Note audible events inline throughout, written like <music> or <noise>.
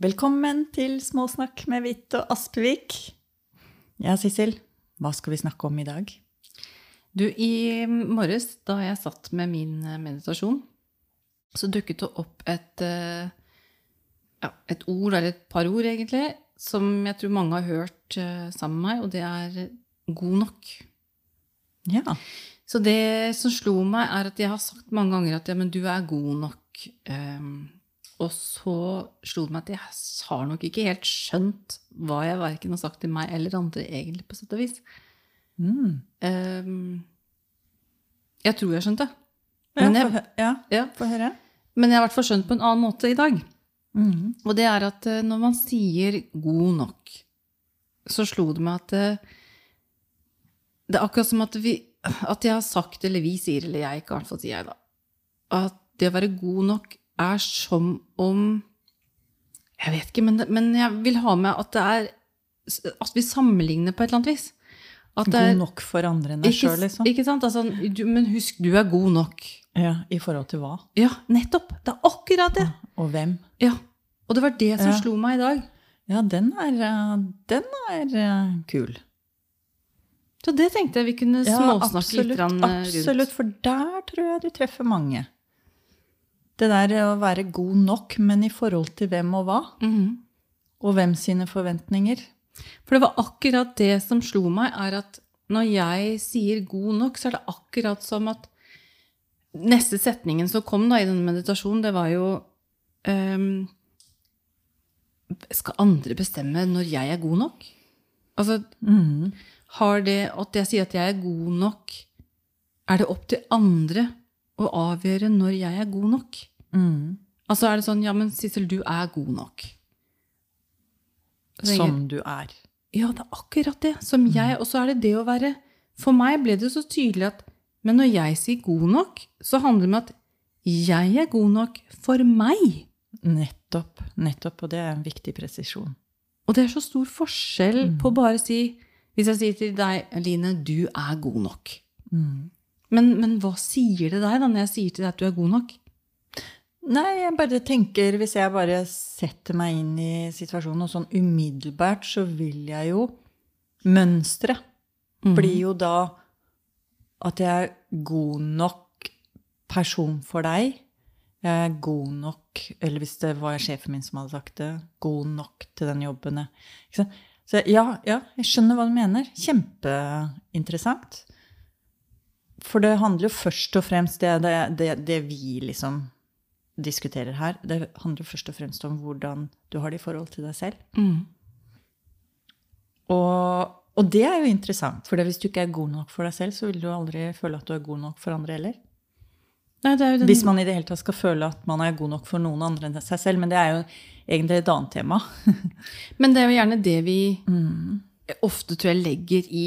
Velkommen til Småsnakk med Hvitt og Aspevik. Ja, Sissel, hva skal vi snakke om i dag? Du, i morges da jeg satt med min eh, meditasjon, så dukket det opp et, eh, ja, et ord, eller et par ord egentlig, som jeg tror mange har hørt eh, sammen med meg, og det er eh, god nok. Ja. Så det som slo meg, er at jeg har sagt mange ganger at ja, men du er god nok. Ehm, og så slo det meg at jeg har nok ikke helt skjønt hva jeg verken har sagt til meg eller andre, egentlig, på sett og vis. Mm. Ehm, jeg tror jeg skjønte. Ja, Men jeg, få hø- ja, ja, få høre. men jeg har i hvert fall skjønt på en annen måte i dag. Mm. Og det er at eh, når man sier 'god nok', så slo det meg at eh, det er akkurat som at, vi, at jeg har sagt, eller vi sier, eller jeg ikke, i hvert fall sier jeg da, at det å være god nok er som om Jeg vet ikke, men, det- men jeg vil ha med at det er At vi sammenligner på et eller annet vis. At det er, God nok for andre enn deg ikke, sjøl, liksom. Ikke sant? Altså, du, men husk, du er god nok. Ja, I forhold til hva? Ja, nettopp. Det er akkurat det. Og hvem? Ja. Og det var det som Ja. slo meg i dag. Ja, den er, eh, den er eh, kul. Så det tenkte jeg vi kunne Ja, småsnakke absolutt, litt grann, eh, rundt. Absolutt, for der tror jeg du treffer mange. Det der å være god nok, men i forhold til hvem og hva, Mhm. og hvem sine forventninger. For det var akkurat det som slo meg, er at når jeg sier god nok, så er det akkurat som at neste setningen som kom da i denne meditasjonen, det var jo ehm, Skal andre bestemme når jeg er god nok? Altså, Mm. Har det at jeg sier at jeg er god nok Er det opp til andre å avgjøre når jeg er god nok? Mm. Altså er det sånn Ja, men Sissel, du er god nok. Så tenker jeg, Som Mm. du er. Ja, det er akkurat det. Som jeg. Og så er det det å være For meg ble det så tydelig at Men når jeg sier god nok, så handler det om at jeg er god nok for meg. Nettopp. Nettopp, og det er en viktig presisjon. Og det er så stor forskjell Mm. på å bare si Hvis jeg sier til deg, Line, du er god nok. Mm. Men, men hva sier det deg da når jeg sier til deg at du er god nok? Nei, jeg bare tenker Hvis jeg bare setter meg inn i situasjonen, og sånn umiddelbart, så vil jeg jo Mønstre Mm-hmm. blir jo da at jeg er god nok person for deg. Jeg er god nok Eller hvis det var sjefen min som hadde sagt det. God nok til den jobben. jeg- Ikke sant? Så jeg- ja, ja, jeg skjønner hva du mener. Kjempeinteressant. For det handler jo først og fremst det, det, det, det vi liksom diskuterer her, det handler jo først og fremst om hvordan du har det i forhold til deg selv. Mm. Og, og det er jo interessant, for hvis du ikke er god nok for deg selv, så vil du aldri føle at du er god nok for andre heller. Nei, det er jo den, Hvis man i det hele tatt skal føle at man er god nok for noen andre enn seg selv, men det er jo egentlig et annet tema. Men det er jo gjerne det vi Mm. ofte tror jeg legger i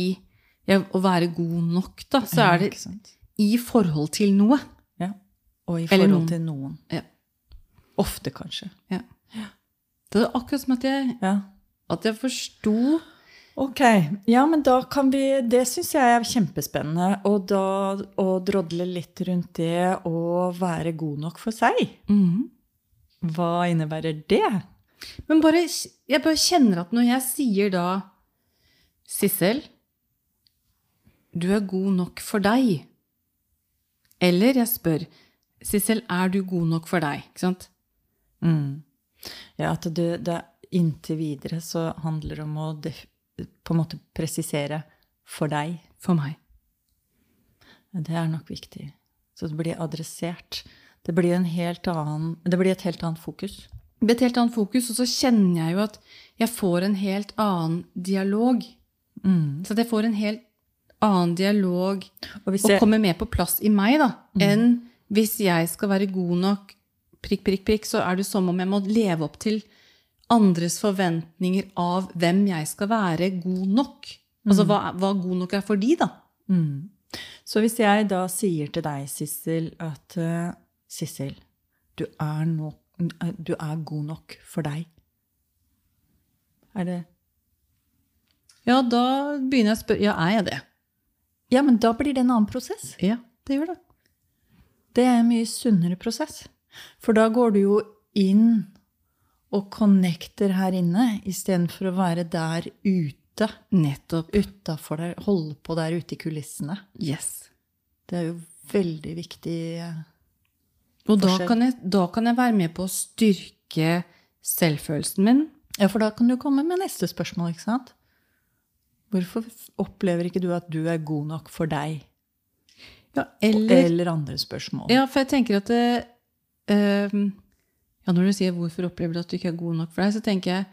ja, å være god nok, da. Så er det <laughs> Ikke sant? i forhold til noe. Ja. Og i Eller forhold noen. til noen. Ja. Ofte, kanskje. Det er akkurat som at jeg, Ja. at jeg forsto Ok. Ja, men da kan vi Det syns jeg er kjempespennende. Og da å drodle litt rundt det å være god nok for seg. Mm. Hva innebærer det? Men bare, jeg bare kjenner at når jeg sier da Sissel, du er god nok for deg. Eller jeg spør Sissel, er du god nok for deg? Ikke sant? Mm. Ja, at det, det inntil videre så handler det om å def, på en måte presisere for deg. For meg. Det er nok viktig. Så det blir adressert. Det blir, en helt annen, det blir et helt annet fokus. Det blir et helt annet fokus, og så kjenner jeg jo at jeg får en helt annen dialog. Så at jeg får en helt annen Mm. dialog Og hvis og jeg- Mm. kommer mer på plass i meg, da, enn hvis jeg skal være god nok, prikk, prikk, prikk, så er det som om jeg må leve opp til andres forventninger av hvem jeg skal være god nok. Mm. Altså hva, hva god nok er for de, da. Så hvis jeg da sier til deg, Sissel, at eh, Sissel, du er, no, du er god nok for deg. Er det Ja, da begynner jeg å spørre Ja, er jeg det? Ja, men da blir det en annen prosess. Ja, det gjør det. Det er en mye sunnere prosess. For da går du jo inn og connecter her inne istedenfor å være der ute, Nettopp. utafor der, holde på der ute i kulissene. Yes. Det er jo veldig viktig. Og da Forskjell. kan, jeg, da kan jeg være med på å styrke selvfølelsen min. Ja, for da kan du komme med neste spørsmål, ikke sant? Hvorfor opplever ikke du at du er god nok for deg? Ja, Eller andre spørsmål. Ja, for jeg tenker at det, ehm, ja, Når du sier 'hvorfor opplever du at du ikke er god nok for deg', så tenker jeg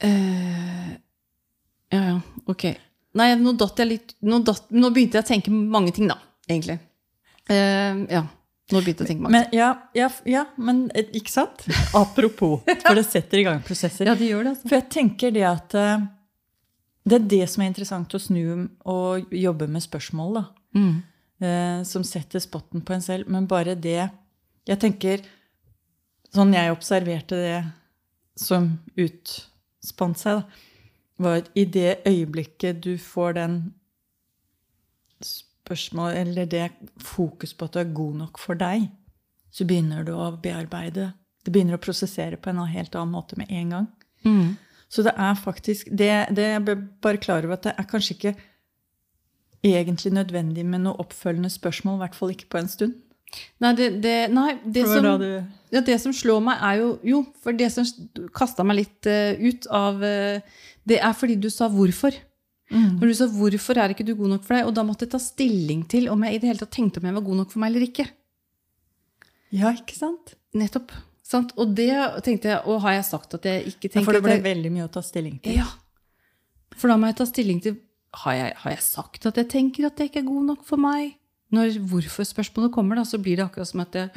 eh, Ja, ja, ok. Nei, nå datt jeg litt Nå, datt, nå begynte jeg å tenke mange ting, da, egentlig. Ehm, ja. Nå begynte jeg å tenke mange ting. Men, ja, ja, ja, men eh, ikke sant? <laughs> Apropos, for det setter i gang prosesser. Ja, det gjør det, altså. For jeg tenker det at eh, det er det som er interessant å snu og jobbe med spørsmål, da. Mm. eh, som setter spotten på en selv. Men bare det Jeg tenker Sånn jeg observerte det som utspant seg, da, var at i det øyeblikket du får den spørsmål, eller det fokus på at du er god nok for deg, så begynner du å bearbeide. Du begynner å prosessere på en helt annen måte med en gang. Mm. Så det er faktisk det, det Jeg ble bare klar over at det er kanskje ikke egentlig nødvendig med noe oppfølgende spørsmål, i hvert fall ikke på en stund. Nei, det, det, nei, det For da som du... Ja, det som slår meg er jo Jo, for det som kasta meg litt eh, ut av eh, Det er fordi du sa 'hvorfor'. Mm. Når du sa 'hvorfor er ikke du god nok for deg', og da måtte jeg ta stilling til om jeg i det hele tatt tenkte om jeg var god nok for meg eller ikke. Ja, ikke sant? Nettopp. Sant? Og det tenkte jeg Og har jeg sagt at jeg ikke Ja, tenker for det at ble jeg- veldig mye å ta stilling til. Ja. For da må jeg ta stilling til har jeg, har jeg sagt at jeg tenker at jeg ikke er god nok for meg? Når hvorfor-spørsmålet kommer, da, så blir det akkurat som at jeg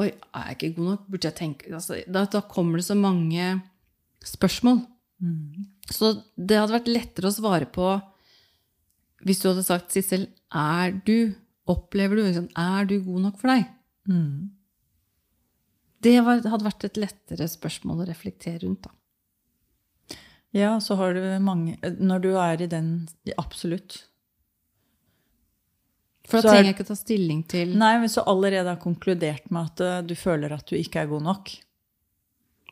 Oi, er jeg ikke god nok? Burde jeg tenke altså, da, da kommer det så mange spørsmål. Så det hadde vært lettere å svare på hvis du hadde sagt, Sissel, er du Opplever du liksom, Er du god nok for deg? Mm. Det var, hadde vært et lettere spørsmål å reflektere rundt, da. Ja, så har du mange Når du er i den Absolutt. For Så da er- trenger jeg ikke ta stilling til Nei, men så allerede har konkludert med at eh, du føler at du ikke er god nok.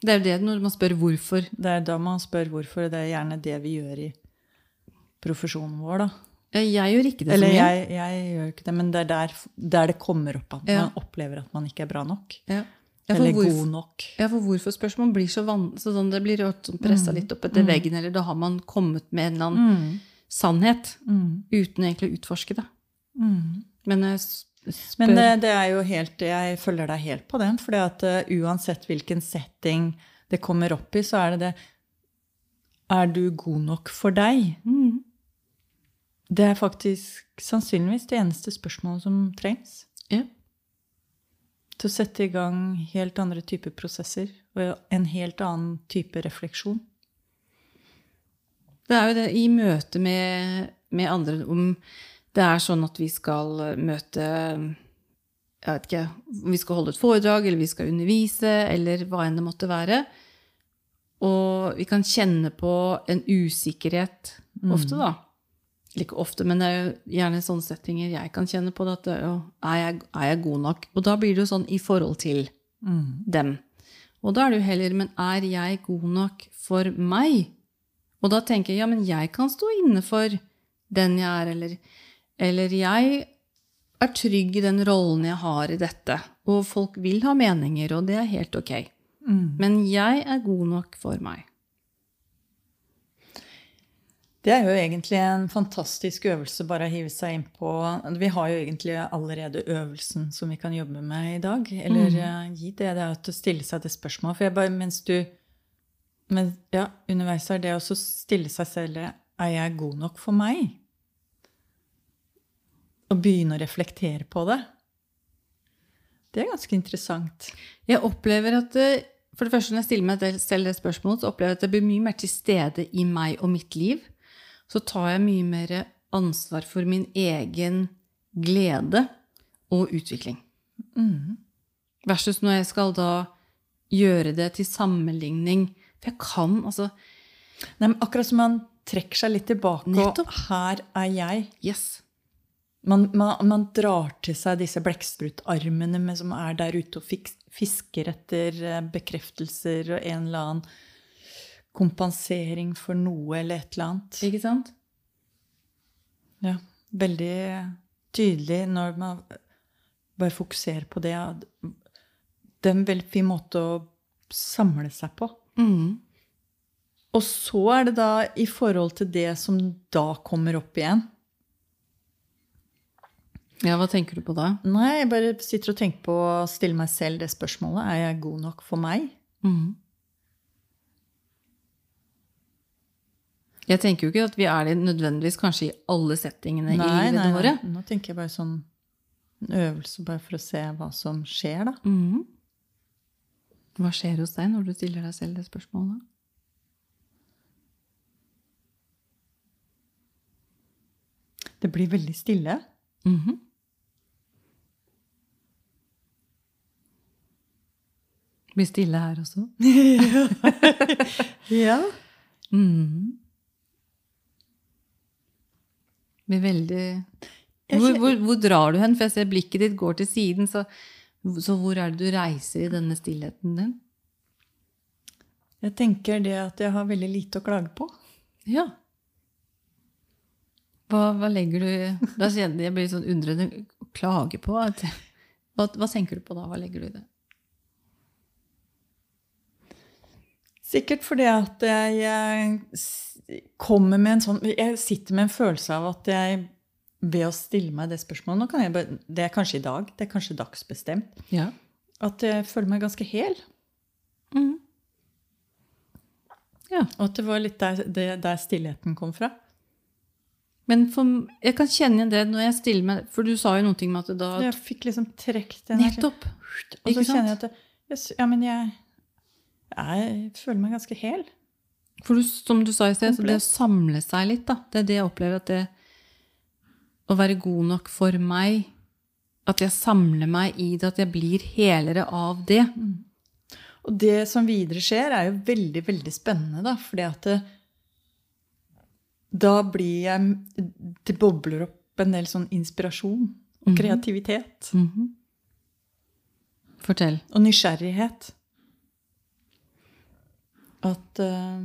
Det er jo det når man spør hvorfor. Det er da man spør hvorfor. og Det er gjerne det vi gjør i profesjonen vår, da. Ja, Jeg gjør ikke det Eller så mye. jeg, jeg gjør ikke det, men det er der, der det kommer opp at Ja. man opplever at man ikke er bra nok. Ja. Ja, for Eller hvorfor- god nok. Ja, for hvorfor-spørsmål blir så van... Så sånn, det blir Mm. pressa litt opp etter veggen, eller da har man kommet med en eller annen Mm. sannhet uten egentlig å utforske det. Men jeg s- spør Mm. Men eh, det er jo helt, jeg følger deg helt på den, for uansett hvilken setting det kommer opp i, så er det det Er du god nok for deg? Mm. Det er faktisk sannsynligvis det eneste spørsmålet som trengs. ja. Til å sette i gang helt andre typer prosesser og en helt annen type refleksjon. Det er jo det i møte med, med andre om det er sånn at vi skal møte Jeg vet ikke om Vi skal holde et foredrag, eller vi skal undervise, eller hva enn det måtte være. Og vi kan kjenne på en usikkerhet ofte, da. Eller ikke ofte, men det er jo gjerne sånne settinger jeg kan kjenne på. det, At det, «Å, er, jeg, er jeg god nok? Og da blir det jo sånn i forhold til dem. Og da er det jo heller Men er jeg god nok for meg? Og da tenker jeg ja, men jeg kan stå inne for den jeg er, eller, eller jeg er trygg i den rollen jeg har i dette. Og folk vil ha meninger, og det er helt ok. Men jeg er god nok for meg. Det er jo egentlig en fantastisk øvelse bare å hive seg innpå. Vi har jo egentlig allerede øvelsen som vi kan jobbe med i dag. Eller eh, gi det, det er å stille seg det spørsmålet. For jeg bare, mens du men, ja, Underveis er det også å stille seg selv det, Er jeg god nok for meg? Og begynne å reflektere på det. Det er ganske interessant. Jeg opplever at eh, For det første, når jeg stiller meg det- selv det spørsmålet, så opplever jeg at jeg blir mye mer til stede i meg og mitt liv. Så tar jeg mye mer ansvar for min egen glede og utvikling. Mm. Versus når jeg skal da gjøre det til sammenligning. For jeg kan altså Nei, men akkurat som man trekker seg litt tilbake Nettopp. og Her er jeg. Yes. Man, man, man drar til seg disse blekksprutarmene med- som er der ute og fiks- fisker etter eh, bekreftelser og en eller annen kompensering for noe eller et eller annet. Ikke sant? Ja, veldig tydelig når man bare fokuserer på det. at Det er en veldig fin måte å samle seg på. Mhm. Og så er det da i forhold til det som da kommer opp igjen. Ja, hva tenker du på da? Nei, jeg bare sitter og tenker på å stille meg selv det spørsmålet. Er jeg god nok for meg? Mhm. Jeg tenker jo ikke at vi er det nødvendigvis kanskje i alle settingene i livet våre. Nå tenker jeg bare sånn en øvelse bare for å se hva som skjer, da. Mhm. Hva skjer hos deg når du stiller deg selv det spørsmålet? Det blir veldig stille. Mhm. Blir stille her også. Ja. Mhm. Blir veldig Jeg hvor, kjen- hvor, hvor drar du hen? For jeg ser blikket ditt går til siden. Så, så hvor er det du reiser i denne stillheten din? Jeg tenker det at jeg har veldig lite å klage på. Ja. Hva, hva legger du Da kjenner jeg jeg blir sånn undrende. Klage på? At, hva, hva tenker du på da? Hva legger du i det? Sikkert fordi at jeg, eh, s- kommer med en sånn Jeg sitter med en følelse av at jeg ved å stille meg det spørsmålet nå kan jeg bare, Det er kanskje i dag. Det er kanskje dagsbestemt. Ja. At jeg føler meg ganske hel. Mhm. Ja. Mm. Og at det var litt der, det, der stillheten kom fra. Men for, jeg kan kjenne igjen det når jeg stiller meg For du sa jo noe med at da Jeg fikk liksom trukket energi. Nettopp! Og så Ikke kjenner jeg sant? at det, yes, Ja, men jeg, jeg føler meg ganske hel. For du, som du sa i sted, så det Komplett. å samle seg litt, da. Det er det jeg opplever at det Å være god nok for meg. At jeg samler meg i det, at jeg blir helere av det. Og det som videre skjer, er jo veldig, veldig spennende, da. Fordi at det, da blir jeg Det bobler opp en del sånn inspirasjon og kreativitet Mhm. Fortell. og nysgjerrighet. At eh,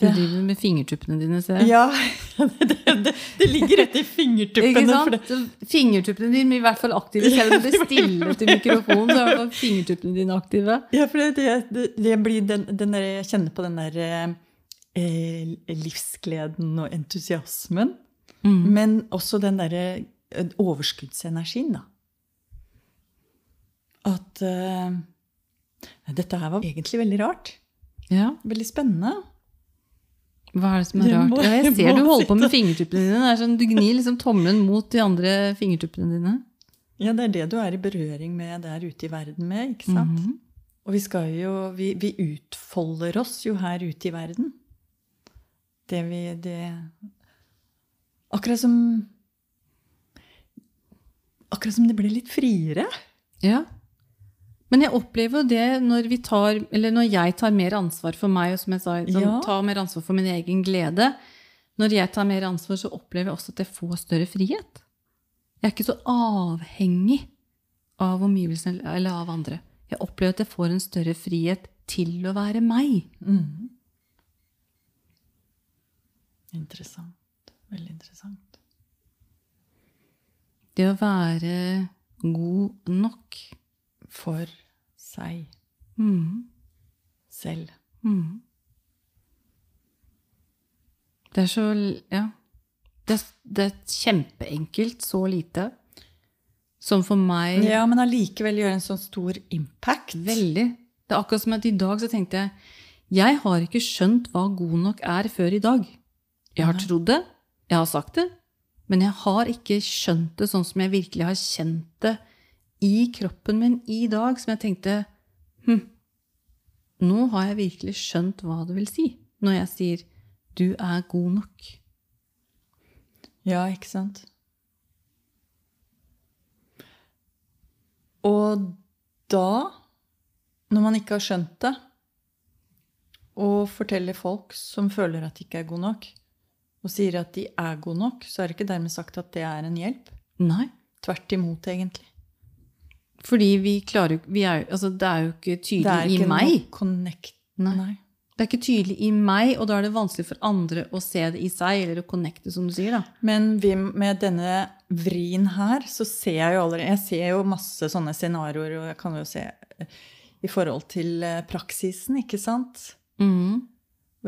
Du Det- driver med fingertuppene dine, ser jeg. Ja, <laughs> det, det, det ligger rett i fingertuppene. Ikke for det- sant? Så Fingertuppene dine blir i hvert fall aktive. Selv <laughs> om det er stille til mikrofonen, så er i hvert fall fingertuppene dine aktive. Ja, for det, det, det, det blir den, den der, Jeg kjenner på den der eh, livsgleden og entusiasmen. Mhm. Men også den derre eh, overskuddsenergien, da. At eh, Dette her var egentlig veldig rart. Ja. Veldig spennende. Hva er det som er Du rart? må- ja, jeg du ser må du holder på med sitte- fingertuppene dine. Det er sånn, du gnir liksom tommelen mot de andre fingertuppene dine. Ja, det er det du er i berøring med der ute i verden med, ikke sant? Mhm. Og vi skal jo vi, vi utfolder oss jo her ute i verden. Det vi det Akkurat som Akkurat som det ble litt friere. Ja. Men jeg opplever jo det når vi tar, eller når jeg tar mer ansvar for meg, og som jeg sa, sånn, Ja. tar mer ansvar for min egen glede. Når jeg tar mer ansvar, så opplever jeg også at jeg får større frihet. Jeg er ikke så avhengig av omgivelsene eller- eller av andre. Jeg opplever at jeg får en større frihet til å være meg. Interessant. Veldig interessant. Det å være god nok. For seg Mhm. selv. Mhm. Det er så Ja. Det, det er kjempeenkelt, så lite. Som for meg Ja, men allikevel gjøre en sånn stor impact. Veldig. Det er akkurat som at i dag så tenkte jeg Jeg har ikke skjønt hva god nok er før i dag. Jeg har trodd det, jeg har sagt det, men jeg har ikke skjønt det sånn som jeg virkelig har kjent det i kroppen min i dag, som jeg tenkte Hm, nå har jeg virkelig skjønt hva det vil si når jeg sier 'du er god nok'. Ja, ikke sant? Og da, når man ikke har skjønt det, og forteller folk som føler at de ikke er gode nok, og og sier at de er gode nok, så er det ikke dermed sagt at det er en hjelp. Nei. Tvert imot, egentlig. Fordi vi klarer jo vi er, jo- altså, Det er jo ikke Det tydelig er ikke i meg. noe connect. Nei. Nei. Det er ikke tydelig i meg, og da er det vanskelig for andre å se det i seg, eller å connecte, som du sier. da. Men vi, med denne vrien her, så ser jeg jo allerede Jeg ser jo masse sånne scenarioer, og jeg kan jo se eh, i forhold til eh, praksisen, ikke sant? Og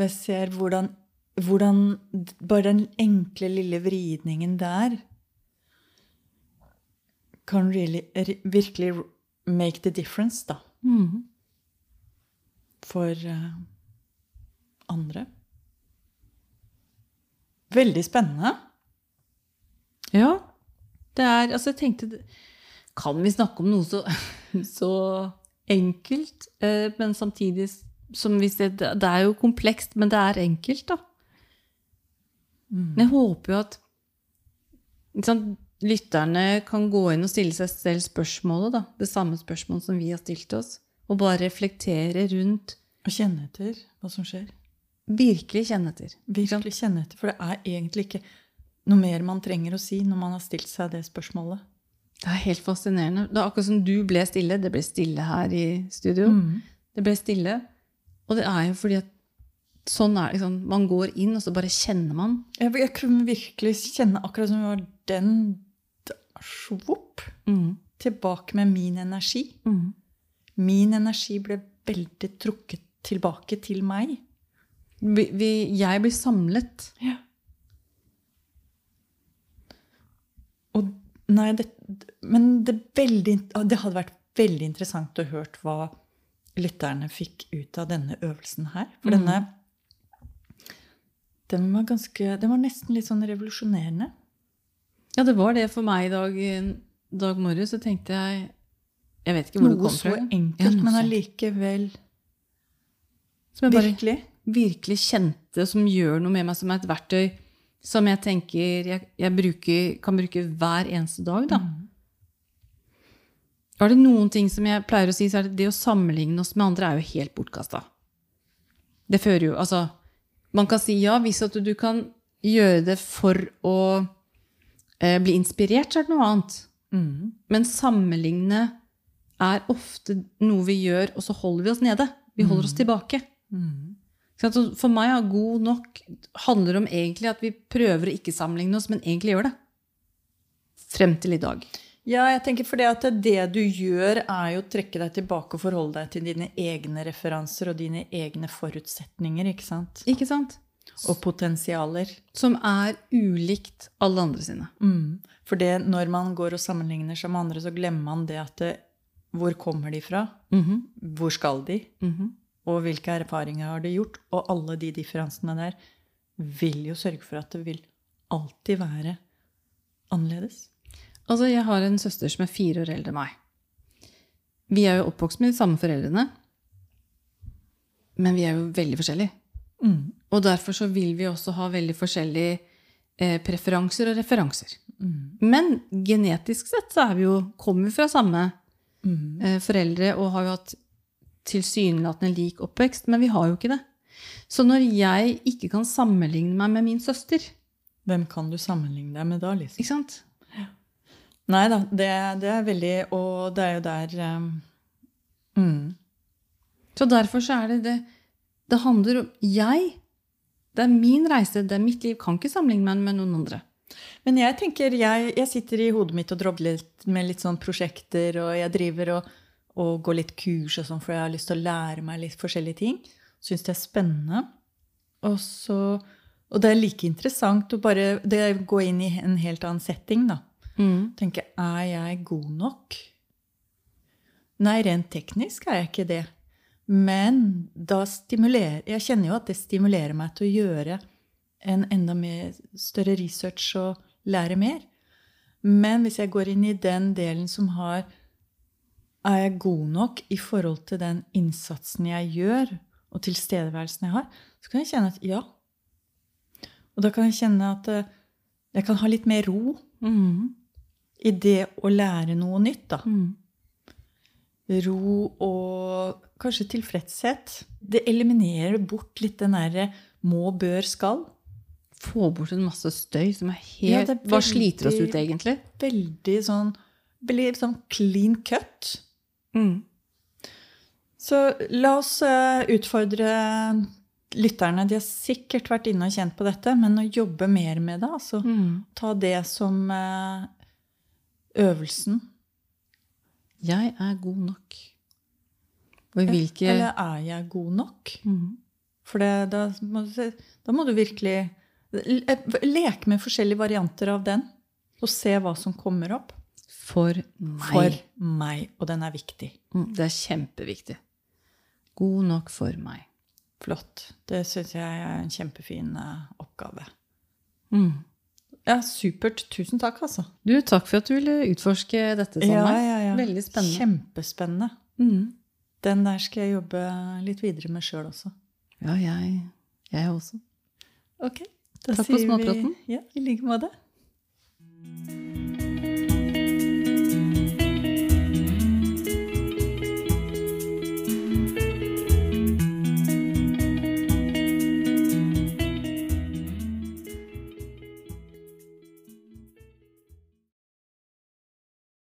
jeg ser hvordan, hvordan d- bare den enkle, lille vridningen der kan really, ri- virkelig r- make the difference, da. For eh, andre. Veldig spennende. Ja. Det er Altså, jeg tenkte det- Kan vi snakke om noe så, <laughs> så enkelt, eh, men samtidig s- som vi ser Det det er jo komplekst, men det er enkelt, da. Men jeg håper jo at ikke sant, lytterne kan gå inn og stille seg selv spørsmålet, da. Det samme spørsmålet som vi har stilt oss. Og bare reflektere rundt Å kjenne etter hva som skjer. Virkelig kjenne etter. Virkelig kjenne etter, for det er egentlig ikke noe mer man trenger å si når man har stilt seg det spørsmålet. Det er helt fascinerende. Det er akkurat som du ble stille. Det ble stille her i studio. Mm. Det ble stille. Og det er jo fordi at sånn er det. ikke sant? Man går inn, og så bare kjenner man. Jeg, jeg kunne virkelig kjenne akkurat som det var den d- svopp tilbake med min energi. Mm. Min energi ble veldig trukket tilbake til meg. Vi, vi, jeg blir samlet. Og nei, det, men det, er veldig, det hadde vært veldig interessant å hørt hva lytterne fikk ut av denne øvelsen her. Mm. For denne den var, ganske, den var nesten litt sånn revolusjonerende. Ja, det var det for meg i dag, eh, dag morges. Så tenkte jeg Jeg vet ikke hvor det Noe kom så fra. enkelt, Ja, noe men så- allikevel Som jeg bare virkelig. virkelig kjente, som gjør noe med meg, som er et verktøy som jeg tenker jeg, jeg bruker, kan bruke hver eneste dag. Da. Er det noen ting som jeg pleier å si, så er det det å sammenligne oss med andre er jo helt bortkasta. Det fører jo Altså, man kan si ja hvis at du kan gjøre det for å eh, bli inspirert, så er det noe annet. Men sammenligne er ofte noe vi gjør, og så holder vi oss nede. Vi holder oss tilbake. Ikke sant? Så For meg er god nok handler om egentlig at vi prøver å ikke sammenligne oss, men egentlig gjør det. Frem til i dag. Ja, jeg tenker for det at det du gjør, er jo å trekke deg tilbake og forholde deg til dine egne referanser og dine egne forutsetninger, ikke sant? Ikke sant? Og potensialer. Som er ulikt alle andre sine. Mm. For det, når man går og sammenligner seg med andre, så glemmer man det at det, hvor kommer de fra? Hvor skal de? Og hvilke erfaringer har de gjort? Og alle de differansene der vil jo sørge for at det vil alltid være annerledes. Altså, jeg har en søster som er fire år eldre enn meg. Vi er jo oppvokst med de samme foreldrene, men vi er jo veldig forskjellige. Mm. Og derfor så vil vi også ha veldig forskjellige eh, preferanser og referanser. Mm. Men genetisk sett så er vi jo, kommer vi fra samme Mm. eh, foreldre og har jo hatt tilsynelatende lik oppvekst, men vi har jo ikke det. Så når jeg ikke kan sammenligne meg med min søster, Hvem kan du sammenligne deg med da, liksom? ikke sant? Nei da, det, det er veldig Og det er jo der um, mm, Så derfor så er det det Det handler om jeg. Det er min reise, det er mitt liv. Kan ikke sammenligne meg med noen andre. Men jeg tenker, jeg, jeg sitter i hodet mitt og drobler litt med litt sånn prosjekter, og jeg driver og, og går litt kurs og sånn, for jeg har lyst til å lære meg litt forskjellige ting. Syns det er spennende. Og, så, og det er like interessant å bare det gå inn i en helt annen setting, da. Tenke, er jeg god nok? Nei, rent teknisk er jeg ikke det. Men da stimulerer Jeg kjenner jo at det stimulerer meg til å gjøre en enda mer, større research og lære mer. Men hvis jeg går inn i den delen som har Er jeg god nok i forhold til den innsatsen jeg gjør, og tilstedeværelsen jeg har, så kan jeg kjenne at ja. Og da kan jeg kjenne at eh, jeg kan ha litt mer ro Mm. i det å lære noe nytt, da ro og kanskje tilfredshet. Det eliminerer bort litt den derre må, bør, skal. få bort en masse støy som er Ja, helt det er Hva sliter oss veldig- ut, egentlig? Veldig sånn Blir sånn clean cut. Mm. Så la oss eh, utfordre lytterne. De har sikkert vært inne og kjent på dette, men å jobbe mer med det. Altså Mm. ta det som eh, øvelsen. Jeg er god nok. Og i hvilke Eller er jeg god nok? Mm. For det, da, må du, se- da må du virkelig le- leke med forskjellige varianter av den. Og se hva som kommer opp. For meg. For meg. Og den er viktig. Mm. Det er kjempeviktig. God nok for meg. Flott. Det syns jeg er en kjempefin eh, oppgave. Mm. Ja, supert. Tusen takk, altså. Du, takk for at du ville utforske dette sammen. med meg. Veldig spennende. Kjempespennende. Mm. Den der skal jeg jobbe litt videre med sjøl også. Ja, jeg, jeg også. Ok. Da Takk for sier vi- småpraten. Ja, I like måte.